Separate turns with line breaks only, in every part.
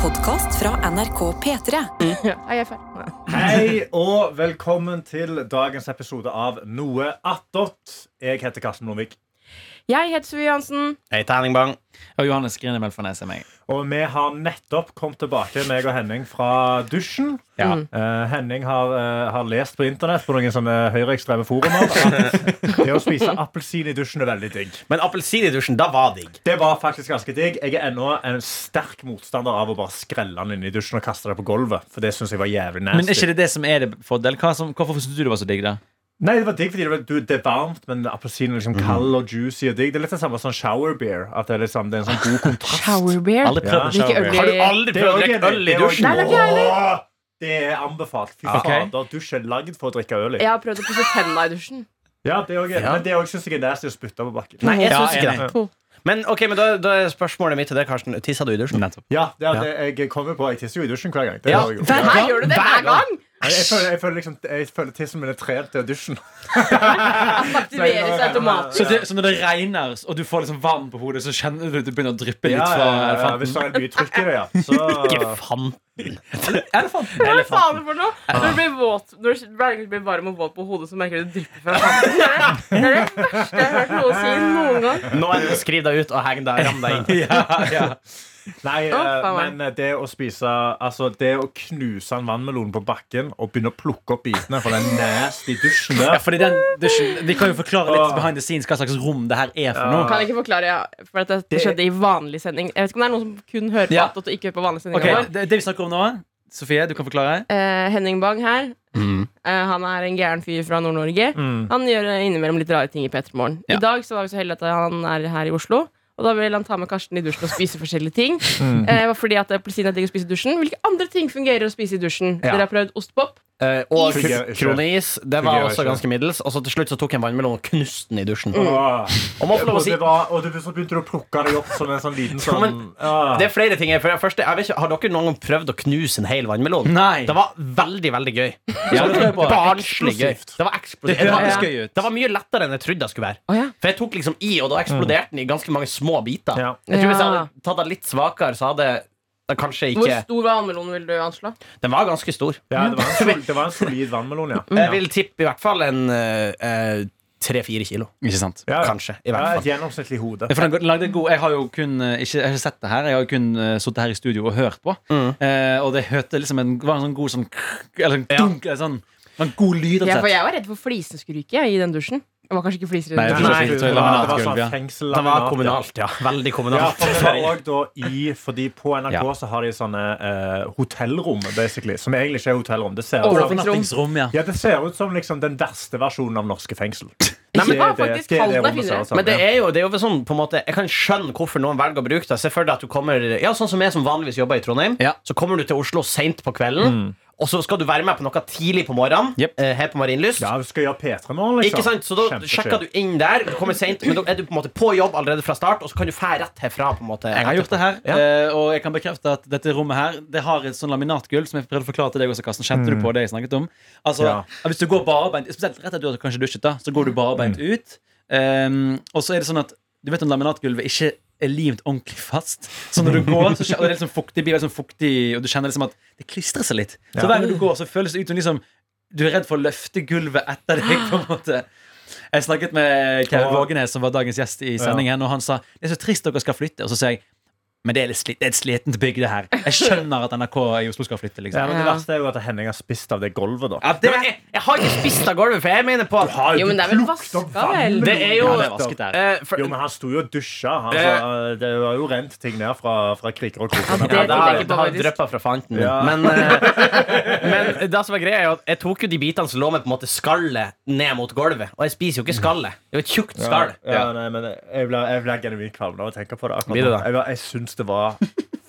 podkast fra NRK P3.
Nei, jeg er ferdig.
Hei og velkommen til dagens episode av Noe attåt. Jeg heter Karsten Blomvik.
Jeg heter Sofie Johansen.
Hei, terningbang.
Og Johannes Grinemel fra Nesheim.
Og vi har nettopp kommet tilbake, meg og Henning, fra dusjen.
Ja.
Eh, Henning har, eh, har lest på internett på noen sånne høyreekstreme forumer at det å spise appelsin i dusjen er veldig digg.
Men appelsin i dusjen, da var digg.
Det var faktisk ganske digg. Jeg er ennå en sterk motstander av å bare skrelle den inn i dusjen og kaste det på gulvet. For det syns jeg var jævlig nasty.
Men er ikke det det som er det fordel? Hva som, hvorfor syns du det var så digg, da?
Nei, det var digg fordi det, var, du, det er varmt, men appelsinen er liksom kald og juicy og digg. Det er litt det samme som shower beer. At det, er liksom, det er en sånn god kontrast.
Showerbeard.
Aldri prøvd
Ja.
en
Like øl
shower.
i-
Har du
Det
aldri
er
prøvd å
også
drikke
enig.
øl i
Det er også-
dusjen?
Nei, det er ikke jeg
Åh, Det er anbefalt. Fy
Ok.
fader, dusj er lagd for å drikke øl i.
Jeg har prøvd å pusse tenna i dusjen.
Ja, det er også,
Ja.
Men det er også, synes jeg er nasty å spytte på bakken.
Nei, jeg
Ja,
synes ikke
enig.
det. Men ok, men da, da er spørsmålet mitt til deg, Karsten. Tissa du i dusjen?
Nettopp.
Ja, det er, det- jeg kommer på Jeg tisser jo i dusjen hver gang. Det
Ja.
har jeg gjort.
Hæ, gjør du det hver gang?
Jeg, jeg, føler, jeg, føler liksom, jeg føler tissen min er trent til dusjen.
Aktiveres automatisk.
Så, det, så når det regner, og du får liksom varm på hodet, så kjenner du at det begynner å dryppe
Ja,
litt fra
ja, ja, hvis
elefanten?
det er mye trykk i det, ja. Så,
Elefant.
Elefanten.
Hva faen er det for noe? Når du blir våt Når du hver gang du blir varm og våt på hodet, så merker du det drypper fra hånden. Det er det- det er det verste jeg har hørt noen si noen gang.
Nå er det skriv deg ut og heng deg, ram deg inn.
nei,
Å,
eh,
faen meg.
men eh, det å spise Altså, det å knuse en vannmelon på bakken og begynne å plukke opp bitene fra den nasty dusjen
Ja,
der
fordi den dusjen Vi kan jo forklare litt
Åh.
behind the scenes hva slags rom det her er for noe.
Kan jeg ikke forklare, ja, for at det skjedde i vanlig sending. Jeg vet ikke om det er noen som kun hører på
Ja.
Attåt og ikke hører på vanlig sending.
Ok, det, det vi snakker om nå Sofie, du kan forklare.
Eh, Henning Bang her. Eh, han er en gæren fyr fra Nord-Norge.
Mm.
Han gjør eh, innimellom litt rare ting i P3 Morgen.
Ja.
I dag så var vi så heldige at han er her i Oslo. Og da vil han ta med Karsten i dusjen og spise forskjellige ting.
Mm.
Eh, fordi at appelsin er digg å spise i dusjen. Hvilke andre ting fungerer å spise i dusjen?
Ja.
Dere har prøvd ostepop?
Eh, og
Fungerer ikke.
kroneis. Det var
Fungerer
også
ikke.
ganske middels. Og så til slutt så tok jeg en vannmelon og knuste den i dusjen.
Åh.
Og må få
Mm.
lov
Og
å si
det var, og det, så begynte du å plukke deg opp som en sånn liten
Ja,
sånn
men-
Ah.
det er flere ting her. For det første, jeg vet ikke, har dere noen gang prøvd å knuse en hel vannmelon?
Nei.
Det var veldig, veldig gøy.
Ja, det tror jeg på.
Barnslig gøy.
Eksplosivt.
Det var
Det
eksplosivt.
høres
Ja.
gøy ut.
Det var mye lettere enn jeg trodde det skulle være.
Å ja.
For jeg tok liksom i, og da eksploderte den i ganske mange små biter.
Ja.
Jeg tror Hvis jeg
Ja.
hadde tatt den litt svakere, så hadde jeg kanskje
Hvor
ikke
stor vannmelon vil du anslå?
Den var ganske stor.
Ja, det var en, sol, det var en solid vannmelon, ja.
Jeg vil tippe i hvert fall en eh, tre-fire kilo.
Ikke sant?
ja.
Kanskje. I
Ja,
hvert
et
fall.
gjennomsnittlig hode.
Ja, For den lagde en god, jeg har jo kun eh, ikke, jeg har ikke sett det her. Jeg har jo kun eh, sittet her i studio og hørt på.
Mm.
Eh, og det hørte liksom en, var en sånn god sånn krrk, Eller en dunk eller sånn, det var en god lyd.
Ja,
rett og
for
slett.
jeg var redd for flisene skulle ryke jeg, i den dusjen. Jeg var kanskje ikke fliser i
Nei,
den
jeg
dusjen.
tror
Nei,
det
det var
var laminatgulv, ja.
sånn fengsel
Det var
laminat,
kommunalt, ja. Veldig
Ja,
kommunalt.
for det var også da i Fordi på NRK
Ja.
så har de sånne eh, hotellrom, basically. Som egentlig ikke er hotellrom. Det ser, ut som,
Overnattingsrom, ja.
ja, det ser ut som liksom den verste versjonen av norske fengsel.
Nei, men
Det er
det var faktisk
det er
kaldt der
rommet ser
finere.
ut som,
Men det
ja.
er jo, det er jo sånn på en måte Jeg kan skjønne hvorfor noen velger å bruke det. Se for deg at du kommer Ja, sånn som jeg som vanligvis jobber i Trondheim.
Ja.
Så kommer du til Oslo seint på kvelden,
Mm.
og så skal du være med på noe tidlig på morgenen
Jep.
eh, her på Marienlyst.
Ja, vi skal gjøre P3 morgen, liksom.
Ikke sant? Så da
Kjempeskjønt.
sjekker du inn der, du kommer sent, men da er du på en måte på jobb allerede fra start, og så kan du fære rett herfra. på en måte
Jeg har gjort det her,
Ja.
eh, og jeg kan bekrefte at dette rommet her Det har et sånn laminatgulv som jeg prøvde å forklare til deg også, Karsten. Kjente du på det jeg snakket om? Altså,
Ja.
Hvis du går barbeint, spesielt rett etter at du har kanskje dusjet, da, så går du barbeint ut. ehm, og så er det sånn at du vet om laminatgulvet ikke er limt ordentlig fast. Så når du går, så kjen- og det er liksom fuktig, blir liksom fuktig, og du kjenner liksom at det klistrer seg litt. Så
Ja.
hver gang du går, så føles det ut som liksom, du er redd for å løfte gulvet etter deg. på en måte jeg snakket med Kevin Vågenes, som var dagens gjest i sendingen, og han sa det er så trist dere skal flytte. Og så sier jeg men det er, litt sli det er et slitent bygg, det her. Jeg skjønner at NRK i Oslo skal flytte.
Ja,
liksom
men Det
Ja.
verste er jo at Henning har spist av det gulvet, da.
Ja, det, jeg, jeg har ikke spist av gulvet, for jeg mener på at
Jo, men det er vel vaska, vel?
Det er jo
Ja, det er vasket der.
eh, for,
Jo, men han sto jo og dusja. Han,
Eh.
sa- det var jo rent ting ned fra, fra kriker og kroker.
det-
ja, det har,
tenker jeg på,
det har
faktisk.
dryppa fra fanten min.
Ja.
Men, eh, men det som er greia er jo at jeg tok jo de bitene som lå med på en måte skallet ned mot gulvet. Og jeg spiser jo ikke skallet. Det er jo et tjukt skall.
Ja, ja, nei, men jeg blir, jeg blir genuint kvalm av å tenke på det. akkurat
Blir du
nå.
det?
Jeg, var- jeg syns det var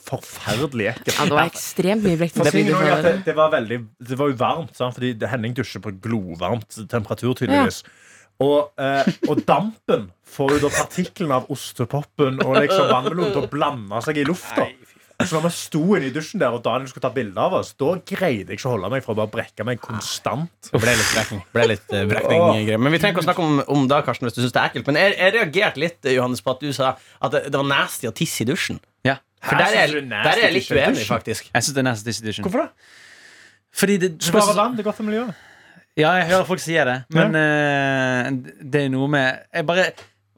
forferdelig ekkelt.
Ja, det var ekstremt mye blekt.
For å si
Det
noe
var-
at det, det, var veldig, det var jo varmt, sant? fordi det- Henning dusjer på glovarmt temperatur, tydeligvis. Og, eh, og dampen får jo da partiklene av ostepoppen og liksom vannmelonen til å blande seg i lufta. Så når vi sto inne i dusjen der, og Daniel skulle ta bilde av oss, da greide jeg ikke å holde meg fra å bare brekke meg konstant.
Ble litt brekning. Ble litt eh, brekning
Åh.
greier. men vi trenger ikke å snakke om, om det, Karsten, hvis du syns det er ekkelt. Men jeg, jeg reagerte litt, Johannes, på at du sa at det, det var nasty å tisse i dusjen.
Ja.
For der er,
synes du det er nasty
der er jeg litt
til kjøtt.
uenig, faktisk.
Jeg syns det er nasty Edition.
Hvorfor det?
Fordi det,
Sparer land, det er godt for miljøet.
Ja, jeg hører folk sier det, men eh, det er noe med Jeg bare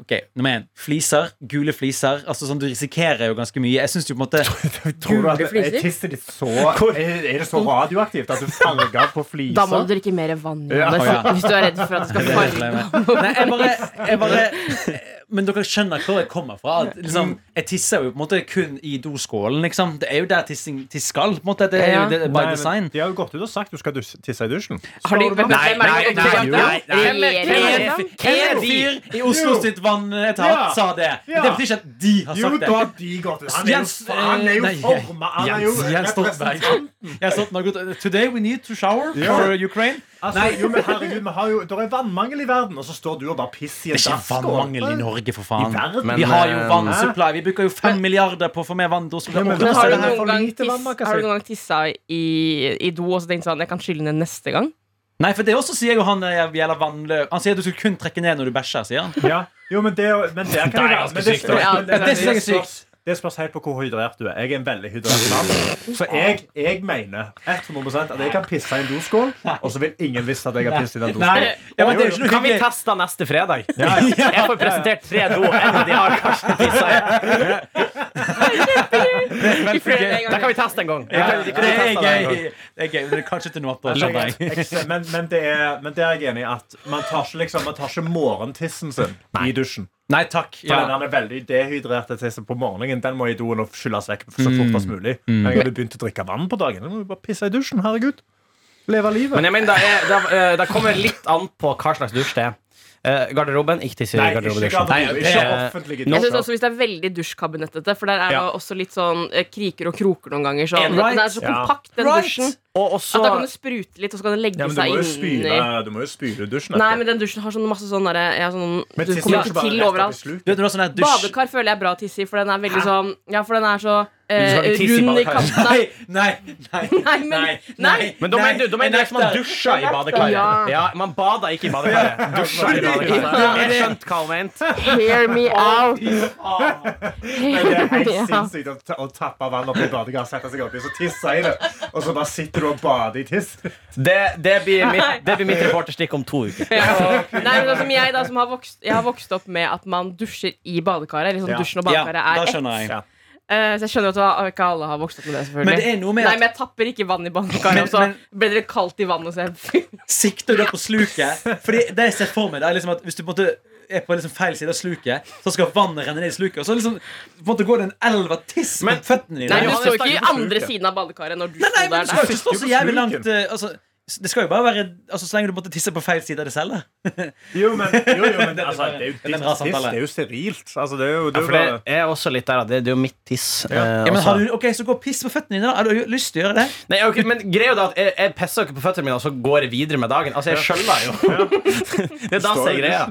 Ok, nummer én. Fliser. Gule fliser. Altså sånn, Du risikerer jo ganske mye. Jeg syns jo på en måte
Tror du at
Gule fliser?
er tisset ditt så er, er det så radioaktivt at du farger på flisa?
Da må du drikke mer vann
Ja.
Johannes,
Å, ja.
hvis du er redd for at det skal
Det er det
farge.
problemet. Nei, jeg bare, jeg bare Men dere skjønner hvor jeg kommer fra. At,
Mm.
liksom, jeg tisser jo på en måte kun i doskålen. Liksom. Det er jo der tissing tiss skal. På en måte. Det er jo
Ja.
det, det er by
Nei, men
design.
De har jo gått ut og sagt du skal dus- tisse i dusjen.
Har de, hvem, hvem
Nei,
er det
nei,
som-
nei, nei,
nei.
Regjeringen.
Hvem er- hvem er-
En fyr i Oslo
Jo.
sitt vannetat
Ja.
sa det. Men
Ja.
Det betyr ikke at de har sagt det.
de gått ut.
Jens, eh, nei, Jens, Jens Stoltenberg. Jens Stoltenberg har gått, Today we need to shower
Ja.
for Ukraine.
Altså, jo, men herregud, vi har jo, Det er vannmangel i verden, og så står du og bare pisser i en
Det er ikke
dasskål.
vannmangel i Norge, for
I
faen.
verden.
Men-
Vi har jo
eh,
vannsupply. Vi bruker jo fem milliarder på å få mer vann. til Oslo.
Ja, men
Og
da
Men
så
har
er
du
det her-
for
noen gang,
lite vann, da,
tiss,
kanskje?
har du noen gang tissa i, i do og så tenkt sånn Jeg kan skylle ned neste gang?
Nei, for det også sier jo han eh, gjelder vannløp. Han sier at du skal kun trekke ned når du bæsjer, sier han.
Ja. Jo, men det, er jo- men der kan
Det er
jeg være-
ganske
men det
sykt,
spørs-
da. Ja,
men det-
det synes jeg er
det spørs-
sykt.
Det spørs helt på hvor hydrert du er. Jeg er en veldig hydrert mann. Så jeg, jeg mener 100 at jeg kan pisse i en doskål, og så vil ingen visst at jeg har pisset i den doskålen.
Ja, men det er jo ikke noe
Kan vi
hyggelig.
teste neste fredag? Jeg får presentert tre do. En av de har Karsten tissa i.
I flere
Da
ganger.
kan vi teste en gang. Vi
Ja, Det
kan- vi kan
er
teste en gang.
gøy. Det er gøy, men det er kanskje ikke noe på, skjønner jeg.
Jeg- Men, men, det er, men det er jeg enig i at man tar ikke, liksom, man tar ikke morgentissen sin i dusjen.
Nei takk.
For
Ja.
den der veldig dehydrerte tissen på morgenen Den må i doen og skylles vekk så
Mm.
fort som mulig. Men jeg hadde begynt å drikke vann på dagen. Jeg må jo bare pisse i dusjen. Herregud. Leve livet.
Men jeg mener, det, er, det, er- det kommer litt an på hva slags dusj det er. Eh, garderoben, ikke tisse i
Nei, ikke
garderobedusjen.
garderobe,
Nei, eh,
ikke
det-
offentlige
Jeg synes
dusjer.
også Hvis det er veldig dusjkabinettete, for der er det
Ja.
også litt sånn eh, kriker og kroker noen ganger. Så
Right.
Det er så
Ja.
kompakt, den
Right.
dusjen.
Og
At da kan
også
du sprute litt, og så kan det legge
Ja, men du må
seg
jo
inni
spyle, du må jo spyle dusjen.
Nei, men den dusjen har sånn masse sånn derre ja, sånn,
Men
Du
tissen
kommer
er
ikke
bare
til
rett opp i
overalt.
sluken.
Du vet, du har sånn her dusj...
Badekar føler jeg er bra å tisse i, for den er veldig sånn Ja, for den er så
Men du skal
eh,
ikke tisse i
rund i
badekar.
kantene.
Nei, nei, nei.
Nei, men- nei.
Men da mener du, da mener du
jeg
at man
nekter.
dusja i badekaret?
Ja.
Ja, man bada ikke i badekaret. Dusja i badekaret. Jeg skjønte hva hun mente.
Hear me out.
Men det er helt
Ja.
sinnssykt å, ta- å tappe vann opp i badekaret, sette seg oppi og så tisse i det. Og så bare sitter du og bader i tiss.
Det, det, blir mitt, det blir mitt reporterstikk om to uker.
Ja. Nei, men sånn som jeg da som har vokst, jeg har vokst opp med at man dusjer i badekaret. Liksom
Ja.
dusjen og
Ja,
badekaret
da
er ett.
skjønner jeg.
Eh, så jeg skjønner jo at da- ikke alle har vokst opp med det. selvfølgelig
Men det er noe med
Nei,
at-
men jeg tapper ikke vann i badekaret,
Men-
og så
men-
ble det litt kaldt i vannet. Så jeg
Sikter du da på sluket? Fordi det jeg ser for meg, det er liksom at hvis du på en måte er på liksom feil side av sluket, så skal vannet renne ned i sluket. Og så liksom, på en måte går det en elv av tiss
Men-
med føttene dine.
Nei, du
Johannes,
står
det er
ikke i
ikke på
andre
sluket.
siden av badekaret når du
Nei, nei,
sto
men
der.
du skal jo
der.
ikke stå så jævlig langt eh, altså, Det skal jo bare være altså, Så lenge du på en måte tisser på feil side av det selv. da.
Jo, men, jo, jo, men altså, det er jo
Det er en
ditt
rar
tiss.
samtale.
Det er jo sterilt. Altså, det er jo, det
Ja,
er jo
for
bare,
det er også litt der at det, det er jo mitt tiss. eh,
Ja, men
også.
har du, ok, Så gå og piss på føttene dine, da. Har du jo lyst til å gjøre det?
Nei, ok, men greia er jo det at jeg, jeg pisser jo ikke på føttene mine, og så går jeg videre med dagen. Altså, jeg skjøller jo. Det er da som er greia.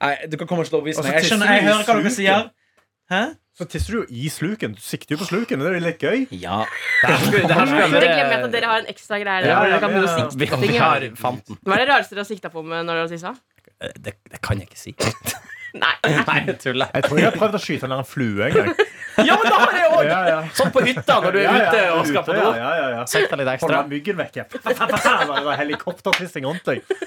Nei, du kan komme ikke til å overbevise
Og så
meg. Jeg
tisser
skjønner, jeg
du i
hører hva dere sier.
sluket.
Hæ?
så tisser du jo i sluken. Du sikter jo på sluken. Det er jo litt gøy.
Ja.
Det her skulle, det her skulle
Det glemmer jeg at
være
dere har en ekstra greie der.
Ja, ja,
dere kan begynne å
ja, ja.
sikte.
Vi- Vi har fant den.
Hva er det rareste dere har sikta på med når dere har tissa?
Eh, Det, det kan jeg ikke si.
Nei.
Nei, jeg tuller.
Jeg tror jeg har prøvd å skyte ned en flue en gang.
Ja, men da har jeg òg!
Ja, ja.
Sånn på hytta når du er
Ja, ja,
ute
jeg er
og skal
ute,
på do.
Ja, ja, ja.
Sikta litt ekstra.
Holde myggen vekke. Det var helikoptertissing rundt deg.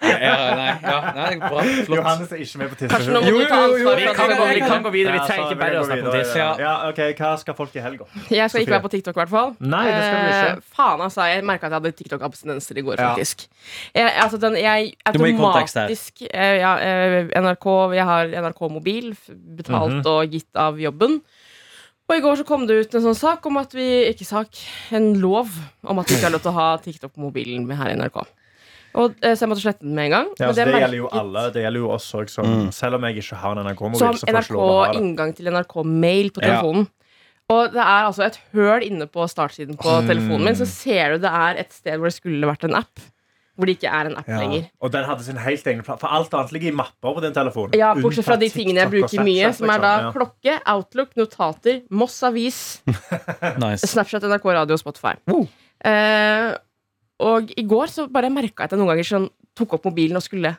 ja, nei, ja, nei, bra, flott.
Johannes er ikke med på
Kanskje nå
tissing.
må du ta
jo,
ansvar
Vi
for at
kan
dere
gå,
kommer
vi
i
kan
gang.
gå videre. Vi
Ja,
trenger
så
ikke bare å
vi
snakke
går
om tiss.
videre.
Ja.
Ja, ok, Hva skal folk i helga?
Jeg skal ikke være på TikTok, i hvert fall.
Nei, det skal vi ikke.
Eh, faen, altså. Jeg merka at jeg hadde TikTok-abstinenser i går, faktisk. Jeg, altså, den, jeg
Du må gi kontekst her.
automatisk eh, ja, eh, NRK, Jeg har NRK-mobil, f- betalt
Mhm.
og gitt av jobben. Og i går så kom det ut en sånn sak om at vi Ikke sak, en lov om at vi ikke har lov til å ha TikTok på mobilen med her i NRK. Og, eh, så jeg måtte slette den med en gang.
Ja,
Men
altså, det,
merket-
gjelder jo alle. Det gjelder jo oss òg.
Mm.
Selv om jeg ikke har en
Så
NRK-mobil, så
har
får jeg ikke lov å ha
NRK
det.
inngang til NRK-mail på
Ja.
telefonen. Og det er altså et høl inne på startsiden på
Mm.
telefonen min. Så ser du det er et sted hvor det skulle vært en app. Hvor det ikke er en app lenger.
Og den hadde sin helt egen plan. For alt annet ligger i mapper på den telefonen.
Ja, Bortsett fra de tingene jeg bruker mye, som er da
klokka.
klokke, Outlook, notater, Moss Avis,
Nice.
Snapchat, NRK Radio og Spotify. Eh, og i går så bare merka jeg at jeg noen ganger sånn, tok opp mobilen og skulle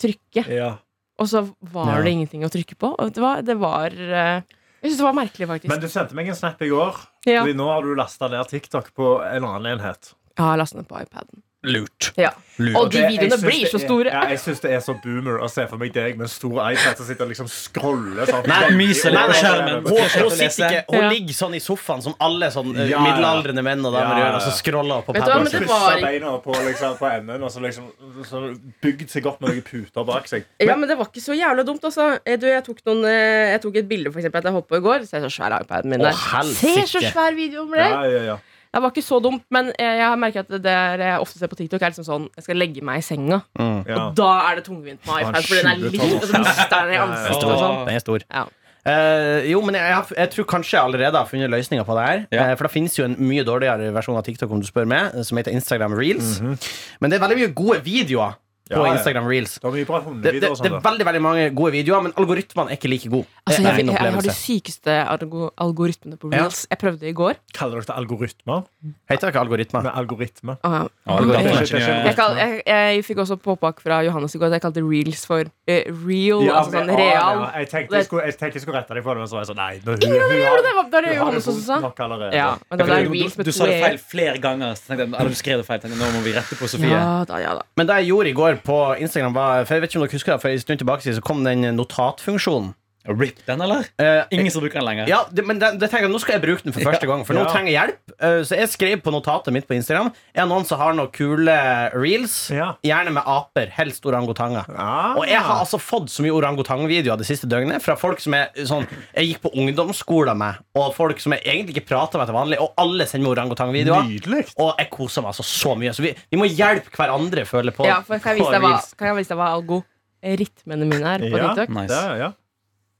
trykke,
Ja.
og så var det ingenting å trykke på. Og det var, det var eh, Jeg syns det var merkelig, faktisk.
Men du sendte meg en snap i går.
Ja.
Fordi nå har du lasta ned TikTok på en eller annen enhet.
Ja, last ned på iPaden.
Lurt.
Ja. Og de
Det- jeg
videoene
syns
blir
det
så
er-
store.
Ja, jeg syns det er så boomer å se for meg deg med en stor iPad som sitter og liksom scroller sånn.
Nei,
myser litt
Nei,
på
nei,
skjermen.
Hun, hun, sitter ikke, hun
Ja.
ligger sånn i sofaen som alle sånn eh,
Ja, ja.
middelaldrende menn og
Ja,
damer
ja,
gjør, og så
ja.
scroller hun på
Vet du hva, men
paden.
det
Pussa
var-
beina på, liksom, på enden og så liksom så bygd seg opp med noen puter bak seg.
Ja, men det var ikke så jævla dumt, altså. Eh, Du, jeg, tok noen, eh, jeg tok et bilde, for eksempel, at jeg holdt på i går. Se så svær iPaden min der.
Å,
Se
helsike.
så svær video med
Ja,
deg!
ja, ja.
Det var ikke så dumt, men eh, jeg har merket at det der jeg ofte ser på TikTok, er liksom sånn Jeg skal legge meg i senga.
ja.
Da er det tungvint med iPad, for den er litt
tjuetallet.
og så mister den i ansiktet og sånn.
Åh.
Den er stor.
Ja.
Eh, jo, men jeg, har, jeg tror kanskje jeg allerede har funnet løsninger på det her.
Ja.
Eh, for det finnes jo en mye dårligere versjon av TikTok om du spør meg, eh, som heter Instagram Reels. Men det er veldig mye gode videoer på
Ja, ja.
Instagram Reels.
Det var mye bra
Det, det,
hundevideoer og
det er
sånn. da.
veldig veldig mange gode videoer, men algoritmene er ikke like gode.
Altså,
Det er
jeg, jeg,
min
jeg har de
opplevelse.
sykeste algo algoritmene på reels. Jeg prøvde i går.
Kaller dere det algoritmer?
Heter det ikke algoritmer?
Med algoritme.
Og jeg, jeg, kall, jeg, jeg fikk også påpakk fra Johannes i går at jeg kalte reels for eh, real.
Ja,
altså sånn
men-
real.
ja, Jeg tenkte jeg skulle, jeg tenkte jeg skulle rette deg på det, men så var jeg sånn Nei, nå, hun, hun,
Det var det, det var
hun
det
har
Johannes
vondt
også sa.
nok allerede.
Ja, men det er
du,
reels med
du sa det
to e.
feil flere ganger. Så tenkte jeg, eller du skrev det feil. Tenkte, jeg, nå må vi rette på Sofie.
Ja da, ja da.
Men det jeg gjorde i går på Instagram, var For jeg vet ikke om dere husker det, for en stund tilbake siden så kom den notatfunksjonen.
Rip den, eller?
Eh,
Ingen som bruker den lenger.
Ja, det, men det, det tenker jeg, Nå skal jeg bruke den for første gang, for nå
Ja.
trenger jeg hjelp. Eh, så jeg skrev på notatet mitt på Instagram Er det noen som har noen kule reels.
Ja.
Gjerne med aper, helst orangutanger.
Ah.
Og jeg har altså fått så mye orangutangvideoer det siste døgnet fra folk som er sånn jeg gikk på ungdomsskolen med, og folk som jeg egentlig ikke prater med til vanlig, og alle sender meg orangutangvideoer.
Nydelig.
Og jeg koser meg altså så mye. Så vi, vi må hjelpe hverandre, føler jeg på.
Ja, for kan jeg
på
vise deg hva,
reels.
kan jeg vise deg hva algoritmene mine er på
Ja.
TikTok?
Nice.
Det, er- ja.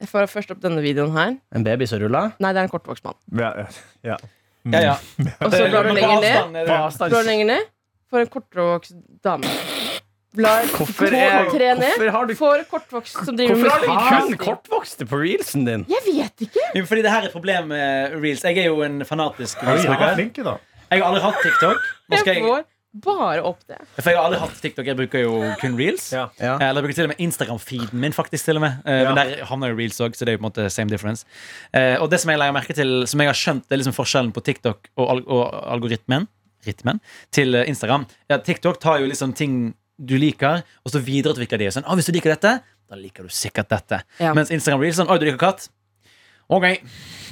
Jeg får først opp denne videoen her.
En baby som ruller.
Nei, det er en kortvokst mann.
Ja, ja. Mm.
Ja, ja.
Og så blar du
Men på
lenger ned.
avstand er det-
Blar du lenger ned. Får en kortvokst dame. Blar to,
Hvorfor er-
tre ned.
hvorfor har du-
Får kortvokst som driver
Hvorfor har du
med
kun kortvokste på reelsen din?
Jeg vet ikke!
Jo, Fordi det her er et problem med reels. Jeg er jo en fanatisk
ja.
reelsbruker.
Flink, da.
Jeg har aldri hatt TikTok. Nå skal
Jeg
jeg,
får bare opp det.
for jeg har aldri hatt TikTok. Jeg bruker jo kun reels. Eh,
Ja.
Ja.
Eller jeg bruker til og med Instagram-feeden min, faktisk. til og med Eh, Men der havner jo reels òg, så det er jo på en måte same difference. Eh, og det som jeg legger merke til, som jeg har skjønt, det er liksom forskjellen på TikTok og, al og algoritmen rytmen, til eh, Instagram, er at TikTok tar jo liksom ting du liker, og så videreutvikler de. Sånn, ah, 'Hvis du liker dette, da liker du sikkert dette.'
Ja.
Mens Instagram reels sånn 'Å, du liker katt?' OK,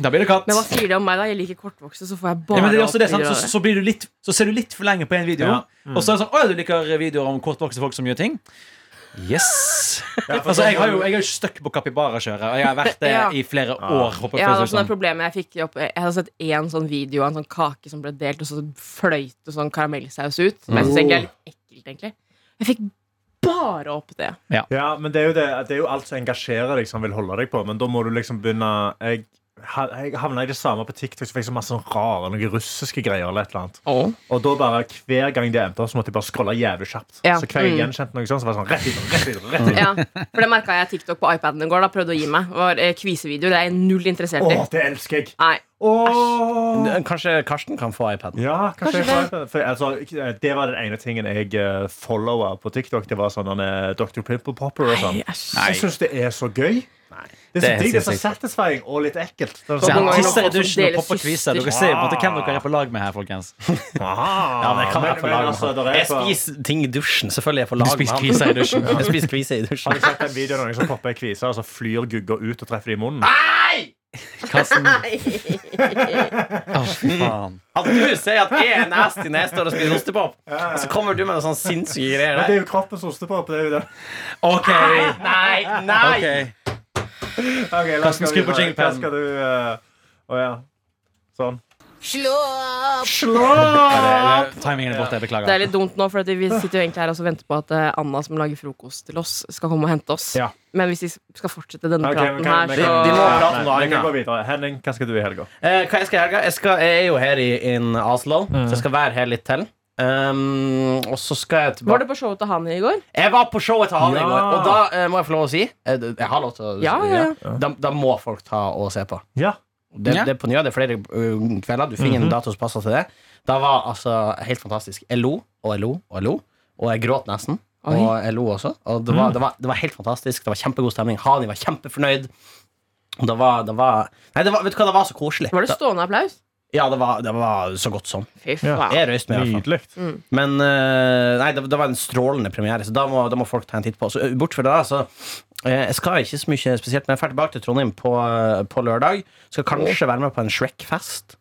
da blir det katt.
Men hva sier det om meg, da? Jeg liker kortvokste, så får jeg
Ja,
bare
men det er også det, sant?
videoer av
Så, så, blir du litt, så ser du litt for lenge på en video,
Ja.
og så er det sånn Å, du liker videoer om kortvokste folk som gjør ting? Yes!
Ja, for
altså,
sånn-
jeg har jo, jeg er jo støkk på capybara-kjøret, og jeg har vært det
Ja.
i flere år. håper jeg
Ja, det
føles
var
det
sånn
som.
det problemet jeg fikk opp Jeg hadde sett én sånn video av en sånn kake som ble delt, og så fløyt det sånn karamellsaus ut. Som jeg syns egentlig er litt ekkelt, egentlig. Jeg fikk bare opp det.
Ja, men det er jo, det, det er jo alt som engasjerer deg, som vil holde deg på. Men da må du liksom begynne Jeg, ha- jeg havna i det samme på TikTok, så fikk jeg så masse sånn rare noen russiske greier. eller et eller annet Og da bare hver gang det endte, så måtte jeg bare scrolle jævlig kjapt.
Ja.
Så hver gang jeg
Mm.
gjenkjente noe sånt, så var det sånn rett videre, rett videre, rett videre.
Ja, For det merka jeg TikTok på iPaden i går. Da prøvde å gi meg. Det var eh, kvisevideoer. Det er jeg null interessert i.
Åh, det elsker jeg!
Nei.
Åh.
Kanskje Karsten kan få iPaden?
Ja,
Kanskje
kanskje jeg får det. For, altså, det var den ene tingen jeg eh, followa på TikTok. Det var sånn han er Dr. Pimple Popper og sånn.
Nei, æsj.
Jeg syns det er så gøy. Det er så
Det
digg, det er så
synes
satisfying og litt ekkelt. Det er
Så
Så
sånn,
jeg
mange folk
tisser i
som
dusjen og
deler
popper kviser. Dere
søster.
ser på en måte hvem dere er på lag med her, folkens.
Aha.
Ja, men jeg kan
Men-
være på
men
lag med
altså,
han.
der er
Jeg
på-
spiser ting i dusjen. Selvfølgelig er jeg på lag
spiser
med
kviser
han.
i dusjen.
Jeg spiser kviser i dusjen.
Har du sett den videoen av noen som popper ei kvise, og så flyr gugga ut og treffer det i munnen?
Karsten. Å, fy faen.
At du sier at jeg er nasty når jeg står og spiser ostepop, og så kommer du med noen sånne sinnssyke greier
Men det
der.
er jo kroppens ostepop. Det er jo det.
OK.
Nei, nei!
ok
Okay, la oss
Karsten,
gå
skru på
videre.
jinglepaden.
Hva skal du eh, Å ja. Sånn.
Slå opp!
Slå!
Eh, Timingen er
Det
borte. Jeg
er
beklager.
litt dumt nå, for at vi sitter jo egentlig her og så venter på at eh, Anna, som lager frokost til oss, skal komme og hente oss.
Ja.
Men hvis vi skal fortsette denne
Ok, men
praten
kan-
her,
vi kan-
så
De- de må
Ja,
prate om noe
nei, vi kan
annet.
gå videre. Henning, hva skal du i helga?
Eh, hva jeg skal i helga? Jeg, skal, jeg er jo her i in Oslo, så jeg skal være her litt til. Um, og så skal
Var
jeg tilbake
du på showet til han i går?
Jeg var på showet til Hane i
Ja.
går, og da eh, må jeg få lov å si eh, Jeg har lov til å si
Ja, ja, ja.
det. Da, da må folk ta og se på.
Ja.
Det,
Ja.
det er på nye, det er flere ø, kvelder. Du
Mhm.
finner en dato som passer til det. Da var altså helt fantastisk. Jeg lo og jeg lo og jeg lo, og jeg gråt nesten.
Oi. Mhm.
Og jeg lo også. Og det var, det, var, det var helt fantastisk. Det var kjempegod stemning. Hani var kjempefornøyd. Det var, det var, nei, det var, vet du hva, det var så koselig.
Var det stående applaus?
ja, det var, det var så godt som.
Fy
Ja.
faen.
Jeg røyste meg, i hvert fall.
Nydelig.
Men eh, nei, det, det var en strålende premiere, så da må, da må folk ta en titt på. Så, eh, bort fra det, så eh, jeg skal ikke så mye spesielt, men jeg drar tilbake til Trondheim på, eh, på lørdag. Skal kanskje være med på en Shrek-fest.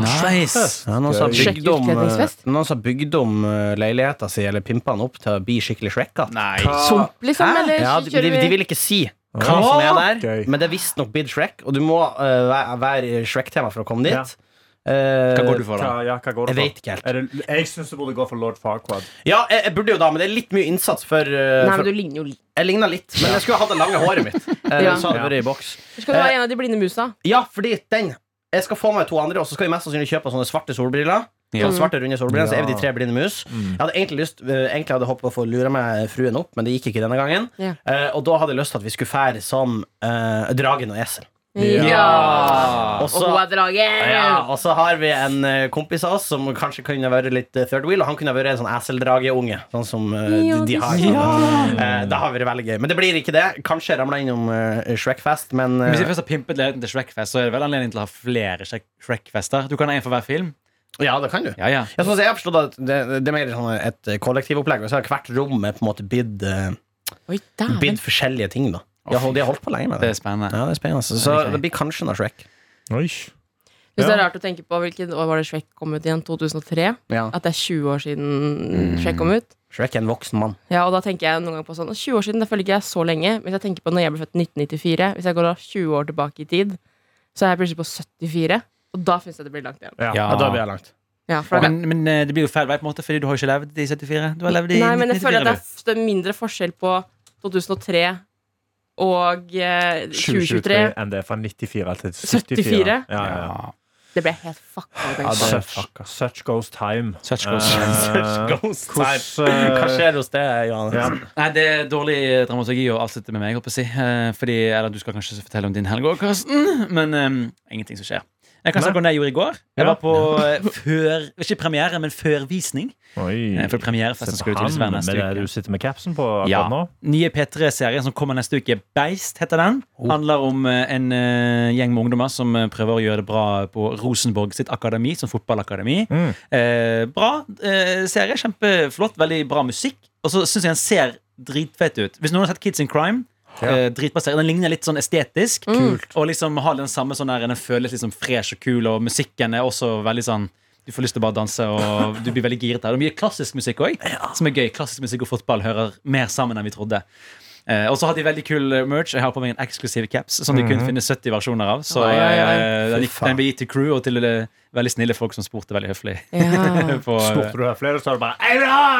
Nice.
Ja, noen som har
Shrek
bygd om, eh,
utkledningsfest?
noen som har bygd om eh, leiligheten sin eller pimpa den opp til å bli skikkelig Shrek-katt.
Nei.
Sump, liksom?
Hæ?
Eller
ja, de, de,
kjører vi
de vil ikke si hva
Hva?
som er der,
Gøy.
men det er visstnok blitt Shrek, og du må eh, væ- være Shrek-tema for å komme dit.
Ja.
Eh,
Hva går du for,
Hva,
da?
ja, hva går det
Jeg
for?
vet ikke helt.
Er det, jeg syns du burde gå for lord Farquad.
Ja, jeg, jeg burde jo da, men det er litt mye innsats for, eh,
Nei, men
for
du ligner jo litt.
Jeg ligner litt, men jeg skulle hatt det lange håret mitt. Eh,
Ja.
Så hadde det vært i boks.
Skal du være en av de blinde musa?
Ja, fordi den Jeg skal få meg to andre, og så skal vi mest sannsynlig kjøpe sånne svarte solbriller.
Ja.
Sånne svarte, runde solbriller, Så er vi de
Ja.
tre blinde mus. Jeg hadde egentlig lyst eh, Egentlig hadde jeg håpet å få lure meg fruen opp, men det gikk ikke denne gangen.
Ja.
Eh, og da hadde jeg lyst til at vi skulle fære som eh, dragen og esel.
Ah.
Ja.
Og
Og
så-
hun er dragen!
Ja, og så har vi en eh, kompis av oss som kanskje kunne vært litt eh, third wheel, og han kunne vært en sånn eseldrageunge, sånn som eh, de,
Ja,
de
det
har.
ser
Sånn. Eh, det har vært veldig gøy. Men det blir ikke det. Kanskje jeg ramler innom eh, Shrekfest, men eh,
Hvis jeg først har pimpet leiligheten til Shrek-fest, så er det vel anledning til å ha flere Shrek- Shrek-fester. Du kan ha en for hver film.
ja, det kan du.
Ja, ja.
Jeg, synes jeg har forstått at det, det er mer sånn et kollektivopplegg, og så har hvert rom er på en måte bidd, eh,
Oi, dæven.
bidd forskjellige ting, da. De har, de har holdt på lenge med det.
Det er spennende.
Ja, det er spennende. Så, så det blir kanskje noe Shrek.
Hvis det er rart å tenke på hvilket år var det Shrek kom ut igjen? 2003?
Ja.
At det er 20 år siden Shrek kom ut?
Shrek er en voksen mann.
Ja, og da tenker jeg noen ganger på sånn 20 år siden, det følger ikke jeg så lenge. Men hvis jeg tenker på når jeg ble født i 1994, hvis jeg går da 20 år tilbake i tid, så er jeg plutselig på 74. Og da syns jeg det blir langt igjen.
Ja.
Ja.
da blir jeg langt.
Ja, for da-
Men, men eh, det blir jo feil vei, på en måte, fordi du har jo ikke levd i 74. Du har levd i
Nei, men jeg føler at det er f-
1994.
det er mindre forskjell på 2003 og eh, 2023.
2023 enn det er fra 94 til 74.
74?
Ja, ja, ja.
Ja.
Det ble helt fucka. å tenke på.
Such, such goes time.
Such goes-
Eh,
Ghost
hvordan, eh,
Hva skjer hos deg, Johannes?
ja.
Nei, det er dårlig eh, dramaturgi å avslutte med meg, holdt på å si. Eh, Fordi, eller du skal kanskje fortelle om din helg òg, Karsten, men eh, ingenting som skjer. Jeg kan
Nei.
snakke om det jeg gjorde i går.
Ja.
Jeg var på eh, før Ikke premiere, men førvisning.
Oi.
Eh, For premierefesten skal jo tydeligvis være
med
neste
det
uke.
du sitter med capsen på akkurat
Ja.
nå?
Nye P3-serien som kommer neste uke, Beist heter den.
Oh.
Handler om eh, en eh, gjeng med ungdommer som eh, prøver å gjøre det bra på Rosenborg sitt akademi, som fotballakademi.
Mm.
Eh, bra eh, serie, kjempeflott, veldig bra musikk. Og så syns jeg den ser dritfett ut. Hvis noen har sett Kids in Crime, eh, dritbra serie. Den ligner litt sånn estetisk. Og liksom har den samme sånn der, den føles liksom fresh og kul, og musikken er også veldig sånn du får lyst til å bare danse, og du blir veldig giret av det. Mye klassisk musikk òg, som er gøy. Klassisk musikk og fotball hører mer sammen enn vi trodde. Eh, og så har de veldig kul eh, merch. Jeg har på meg en eksklusiv caps som de kun finner 70 versjoner av. Så
Oi, oi, oi.
eh, den, gikk, den ble gitt til crew og til eh, veldig snille folk som spurte veldig høflig.
Ja.
på,
Spurte du her flere, så er det bare «Jeg vil ha!»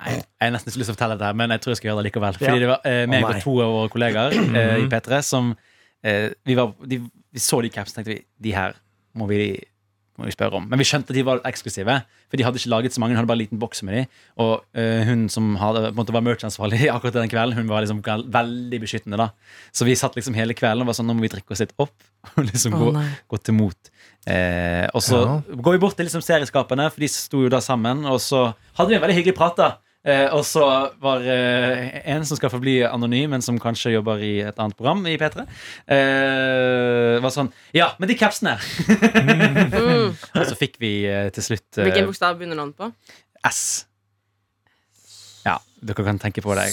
Nei, jeg har nesten ikke lyst til å fortelle dette, her, men jeg tror jeg skal gjøre det likevel. Fordi
Ja.
det var eh, meg
Å, nei.
og to av våre kollegaer eh, i P3 som eh, vi, var, de, vi så de caps, tenkte vi de her må vi, må vi spørre om. Men vi skjønte at de var eksklusive, for de hadde ikke laget så mange. De hadde bare en liten boks med de Og eh, hun som hadde, på en måte var merch-ansvarlig akkurat den kvelden, hun var liksom gal- veldig beskyttende. da Så vi satt liksom hele kvelden og var sånn nå må vi drikke oss litt opp. Og liksom
Å,
gå,
nei.
gått imot. Eh, og så går vi bort til liksom serieskaperne, for de sto jo da sammen. Og så hadde vi en veldig hyggelig prat, da. Eh, og så var eh, en som skal forbli anonym, men som kanskje jobber i et annet program i P3, eh, var sånn Ja, men de capsene!
Mm.
og så fikk vi eh, til slutt eh,
Hvilken bokstav begynner navnet på?
S. Ja, dere kan tenke på det.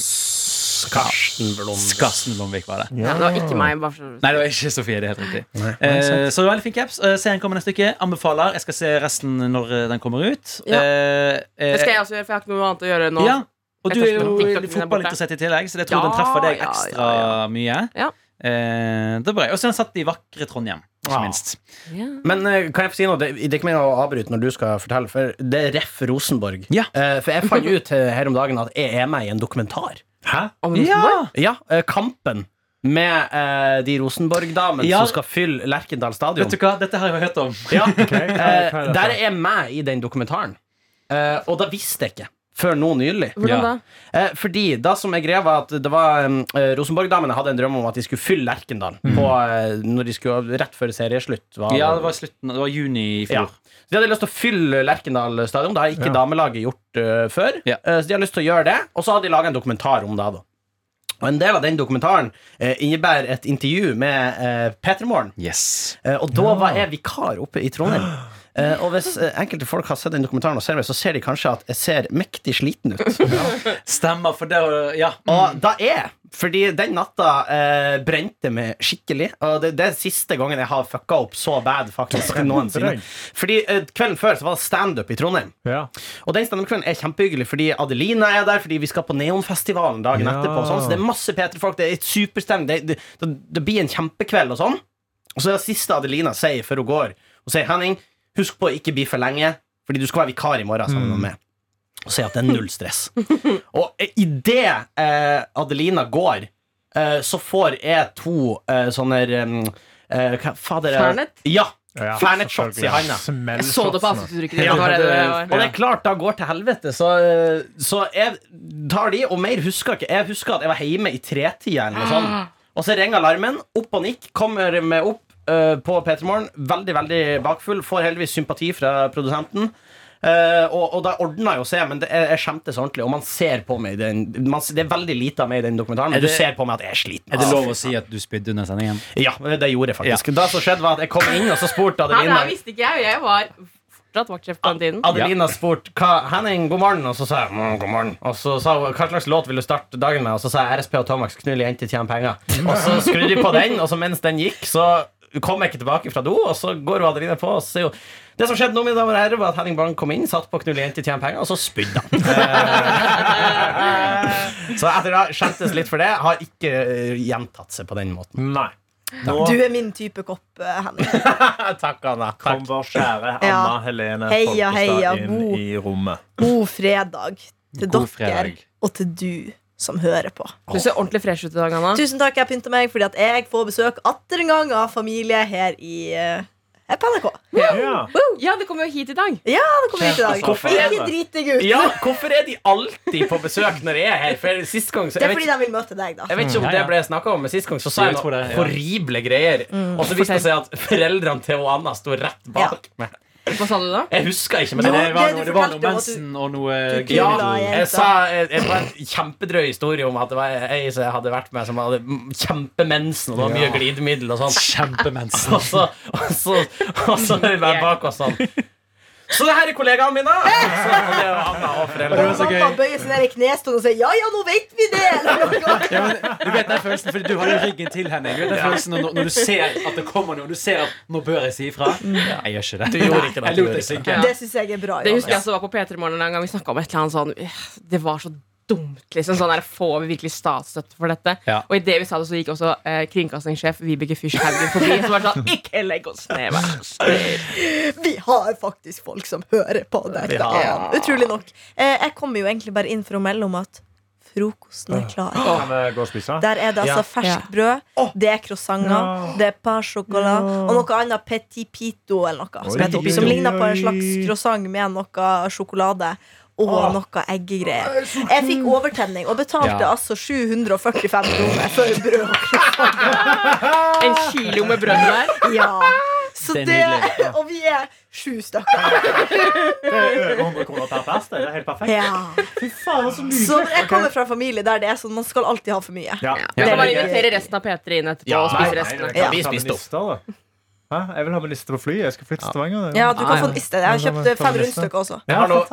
Karsten Blom.
Karsten Blomvik var det.
Ja, det var ikke meg. Bare for...
Nei, det var ikke Sofie. det er helt riktig
Nei.
Eh, så det var veldig fin caps. Eh, serien kommer neste uke. Anbefaler. Jeg skal se resten når eh, den kommer ut.
Ja.
Eh, eh,
Det skal jeg også gjøre, for jeg har ikke noe annet å gjøre nå.
Ja. Og
Jeg
du
tar
er
ikke noen
jo
TikTok-en der
fotballinteressert i tillegg, så jeg tror
Ja,
den treffer deg
ja,
ekstra mye.
Ja.
Eh, det er bra. Og så har den satt i vakre Trondheim, ikke
Ja.
minst.
Ja.
Men eh, kan jeg få si noe? Det, det er ikke meningen å avbryte når du skal fortelle, for det er ref Rosenborg.
Ja.
Eh, for jeg fant ut eh, her om dagen at jeg er med i en dokumentar.
Hæ?
Om Rosenborg?
Ja.
Ja, eh, Kampen. Med eh, de Rosenborg-damene
Ja.
som skal fylle Lerkendal stadion.
Vet du hva? Dette har jeg hørt om.
Ja,
hva er
eh,
dette?
Der er jeg med i den dokumentaren. Eh, og da visste jeg ikke. Før nå nylig.
Hvordan
Ja.
da?
Eh, fordi da som jeg greia var at det var um, eh, Rosenborg-damene hadde en drøm om at de skulle fylle Lerkendal på, eh, når de skulle, rett før serieslutt. var-
Mm. Ja, det var, i slutten, det var juni i
Ja.
fjor.
Så de hadde lyst til å fylle Lerkendal stadion. Det har ikke damelaget gjort eh, før.
Ja.
Eh, så de har lyst til å gjøre det Og så hadde de laga en dokumentar om det. da Og en del av den dokumentaren eh, innebærer et intervju med eh, Peter Morn.
Yes.
Eh, og da var jeg vikar oppe i Trondheim. Eh, og hvis eh, enkelte folk har sett den dokumentaren, og ser meg, så ser de kanskje at jeg ser mektig sliten ut.
Stemmer, for det var- Ja. Ah.
Og da er jeg! Fordi den natta eh, brente meg skikkelig. Og det, det er siste gangen jeg har fucka opp så bad, faktisk. noensinne
deg?
Fordi eh, kvelden før så var det standup i Trondheim.
Ja.
Og den standup-kvelden er kjempehyggelig fordi Adelina er der, fordi vi skal på Neonfestivalen dagen
Ja.
etterpå. og Sånn. Så det er masse P3-folk, det er et superstemning, det, det, det, det blir en kjempekveld og sånn. Og så er det siste Adelina sier før hun går, hun sier Henning, husk på å ikke bli for lenge, fordi du skal være vikar i morgen sammen med meg. Og sier at det er null stress. Og idet eh, Adelina går, eh, så får jeg to eh, sånne um, eh, Hva fader er det?
Fernet?
Ja.
Ja,
Fernet shots i
selvfølgelig.
handa.
Smell
Jeg så det på
shotsene.
ansiktsuttrykket ditt.
Ja,
at det var det det
det-
var.
Og det er klart da går til helvete, så, eh, så jeg tar de, og mer husker jeg ikke. Jeg husker at jeg var hjemme i tretida eller noe sånt. Og så ringer alarmen, opp og nikk, kommer meg opp eh, på P3 Morgen, veldig, veldig bakfull, får heldigvis sympati fra produsenten. Eh, og, og da ordna jo seg, men det, jeg, jeg skjemtes ordentlig. Og man ser på meg i den, man, Det er veldig lite av meg i den dokumentaren, men
Er det-
du ser på meg at jeg er sliten. altså.
Er det lov å si at du spydde under sendingen?
Ja, det gjorde jeg faktisk. Da som skjedde, var at jeg kom inn, og så spurte
Nei, det
Adelina
her visste ikke jeg, og jeg var fortsatt vaktsjef på den tiden.
Adelina spurte hva Henning, god morgen, og så sa jeg mm, god morgen. Og så sa hun hva slags låt vil du starte dagen med, og så sa jeg RSP og Tomax, knull jenter, tjen penger. Og så skrudde de på den, og så mens den gikk, så kom jeg ikke tilbake fra do, og så går hun Adelina på, og så sier hun det som skjedde nå, mine damer og herrer, var at Henning Bang kom inn, satt på knull jenter, tjen penger, og så spydde han. Eh, så etter det skjemtes litt for det, har ikke eh, gjentatt seg på den måten.
Nei. Nå
Du er min type kopp, eh, Henning.
Takk, Anna.
kom
Takk.
vår kjære Anna
Ja.
Helene
Heia, heia,
Folkestad inn
god.
i rommet.
God fredag til
God
dere
fredag.
og til du som hører på.
Du ser ordentlig fresh ut i dag, Anna.
Tusen takk, jeg pynter meg fordi at jeg får besøk atter en gang av familie her i eh, her på NRK.
Ja.
Ja, det kommer jo hit i dag.
Ja, det kommer hit i dag.
Hvorfor er
Ikke
det?
drit deg ut.
Ja, hvorfor er de alltid på besøk når jeg er her? For sist gang så
Det
jeg
er
vet
fordi
ikke-
de vil møte deg, da.
Jeg vet ikke om
Ja, ja.
det ble snakka om, men sist gang så sa
Jo,
jeg
jeg tror
noen
det, ja.
horrible greier. Og så viste det seg at foreldrene til hun Anna sto rett bak meg.
Hva sa du da?
Jeg husker ikke, men
Men
Nå
det
det var
ble
noe,
du
det var noe
fortalt om at du-
mensen og noe
du
ja,
knulla
gøy.
jenta.
jeg sa jeg, jeg, det var en kjempedrøy historie om at det var ei som jeg hadde vært med, som hadde m- kjempemensen, og det var mye glidemiddel og sånn.
Kjempemensen.
Og så, og så, og så er vi bare bak oss sånn. Så det her er kollegaene mine! Så det er jo Anna og foreldrene.
så gøy.
Mamma bøyer seg ned i knestående og sier 'ja ja, nå vet vi det'. Eller noe.
Ja, men, du vet den følelsen, fordi du har jo ryggen til Henning. Du vet den følelsen når, når du ser at det kommer noe. Du ser at 'nå bør jeg si ifra'. Jeg gjør ikke det.
Mm. Du gjorde ikke det.
Jeg lot det synke.
Ja.
Det syns jeg er bra.
Det
Johannes.
husker jeg som var på P3 Morgen en gang. Vi snakket om et eller annet sånn «Øh, Det var så dumt, liksom. Sånn der, Får vi virkelig statsstøtte for dette?
Ja.
Og idet vi sa det, så gikk også eh, kringkastingssjef Vibeke Fyrst Haugen forbi. Som var sånn Ikke legg oss ned, vær så snill.
Vi har faktisk folk som hører på deg. da.
Ja.
Utrolig nok. Eh, Jeg kommer jo egentlig bare inn for å melde om at frokosten er klar.
Kan vi gå og spise?
Der er det altså
Ja.
ferskt brød, det er croissanter,
Ja.
det er parsjokolade og noe annet petit pito eller noe. Som,
Oi,
heter oppi,
oi,
som
oi,
ligner på en slags
oi.
croissant med noe sjokolade. Og noe eggegreier. Jeg fikk overtenning og betalte
Ja.
altså 745 kroner for brød. og
En kilo med brød der.
croissant. Ja. Så
Det er
det,
nydelig.
Og vi er sju stykker.
Det er over 100 kroner per plass. Det er helt perfekt.
Ja.
Fy faen, så nydelig.
Så jeg kommer fra en familie der det er sånn man skal alltid ha for mye.
Ja.
Vi kan bare
Veldig gøy.
invitere resten av P3 inn etterpå
Ja,
og spise
nei,
resten. av-
nei, nei,
Ja.
vi spiste opp. Hæ? Jeg vil ha med liste på flyet. Jeg skal flytte til Stavanger.
Ja, du kan få en iste. Jeg har
Ja, da må
kjøpt eh,
ta en
fem
liste.
rundstykker også.
Jeg har noe,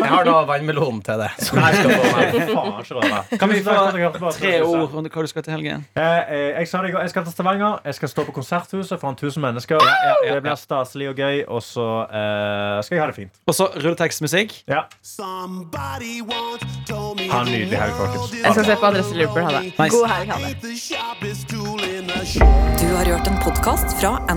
jeg har noe vannmelon til det. Som jeg skal få med.
Faen, ikke røre.
Kan vi
Tusen takk for at dere hørte på.
få tre ord om hva du skal til helgen?
Eh, eh, Jeg sa det i går, jeg skal til Stavanger. Jeg skal stå på Konserthuset foran 1000 mennesker. Det blir staselig og gøy, og så eh, skal jeg ha det fint.
Og så rulletekstmusikk.
Ja.
Somebody once told me
Ha en nydelig helg, folkens.
Jeg skal se på Adresse Liverpool. Ha det.
Nice.
God helg. Ha det.
the sharpest tool in the
Du har hørt en podkast fra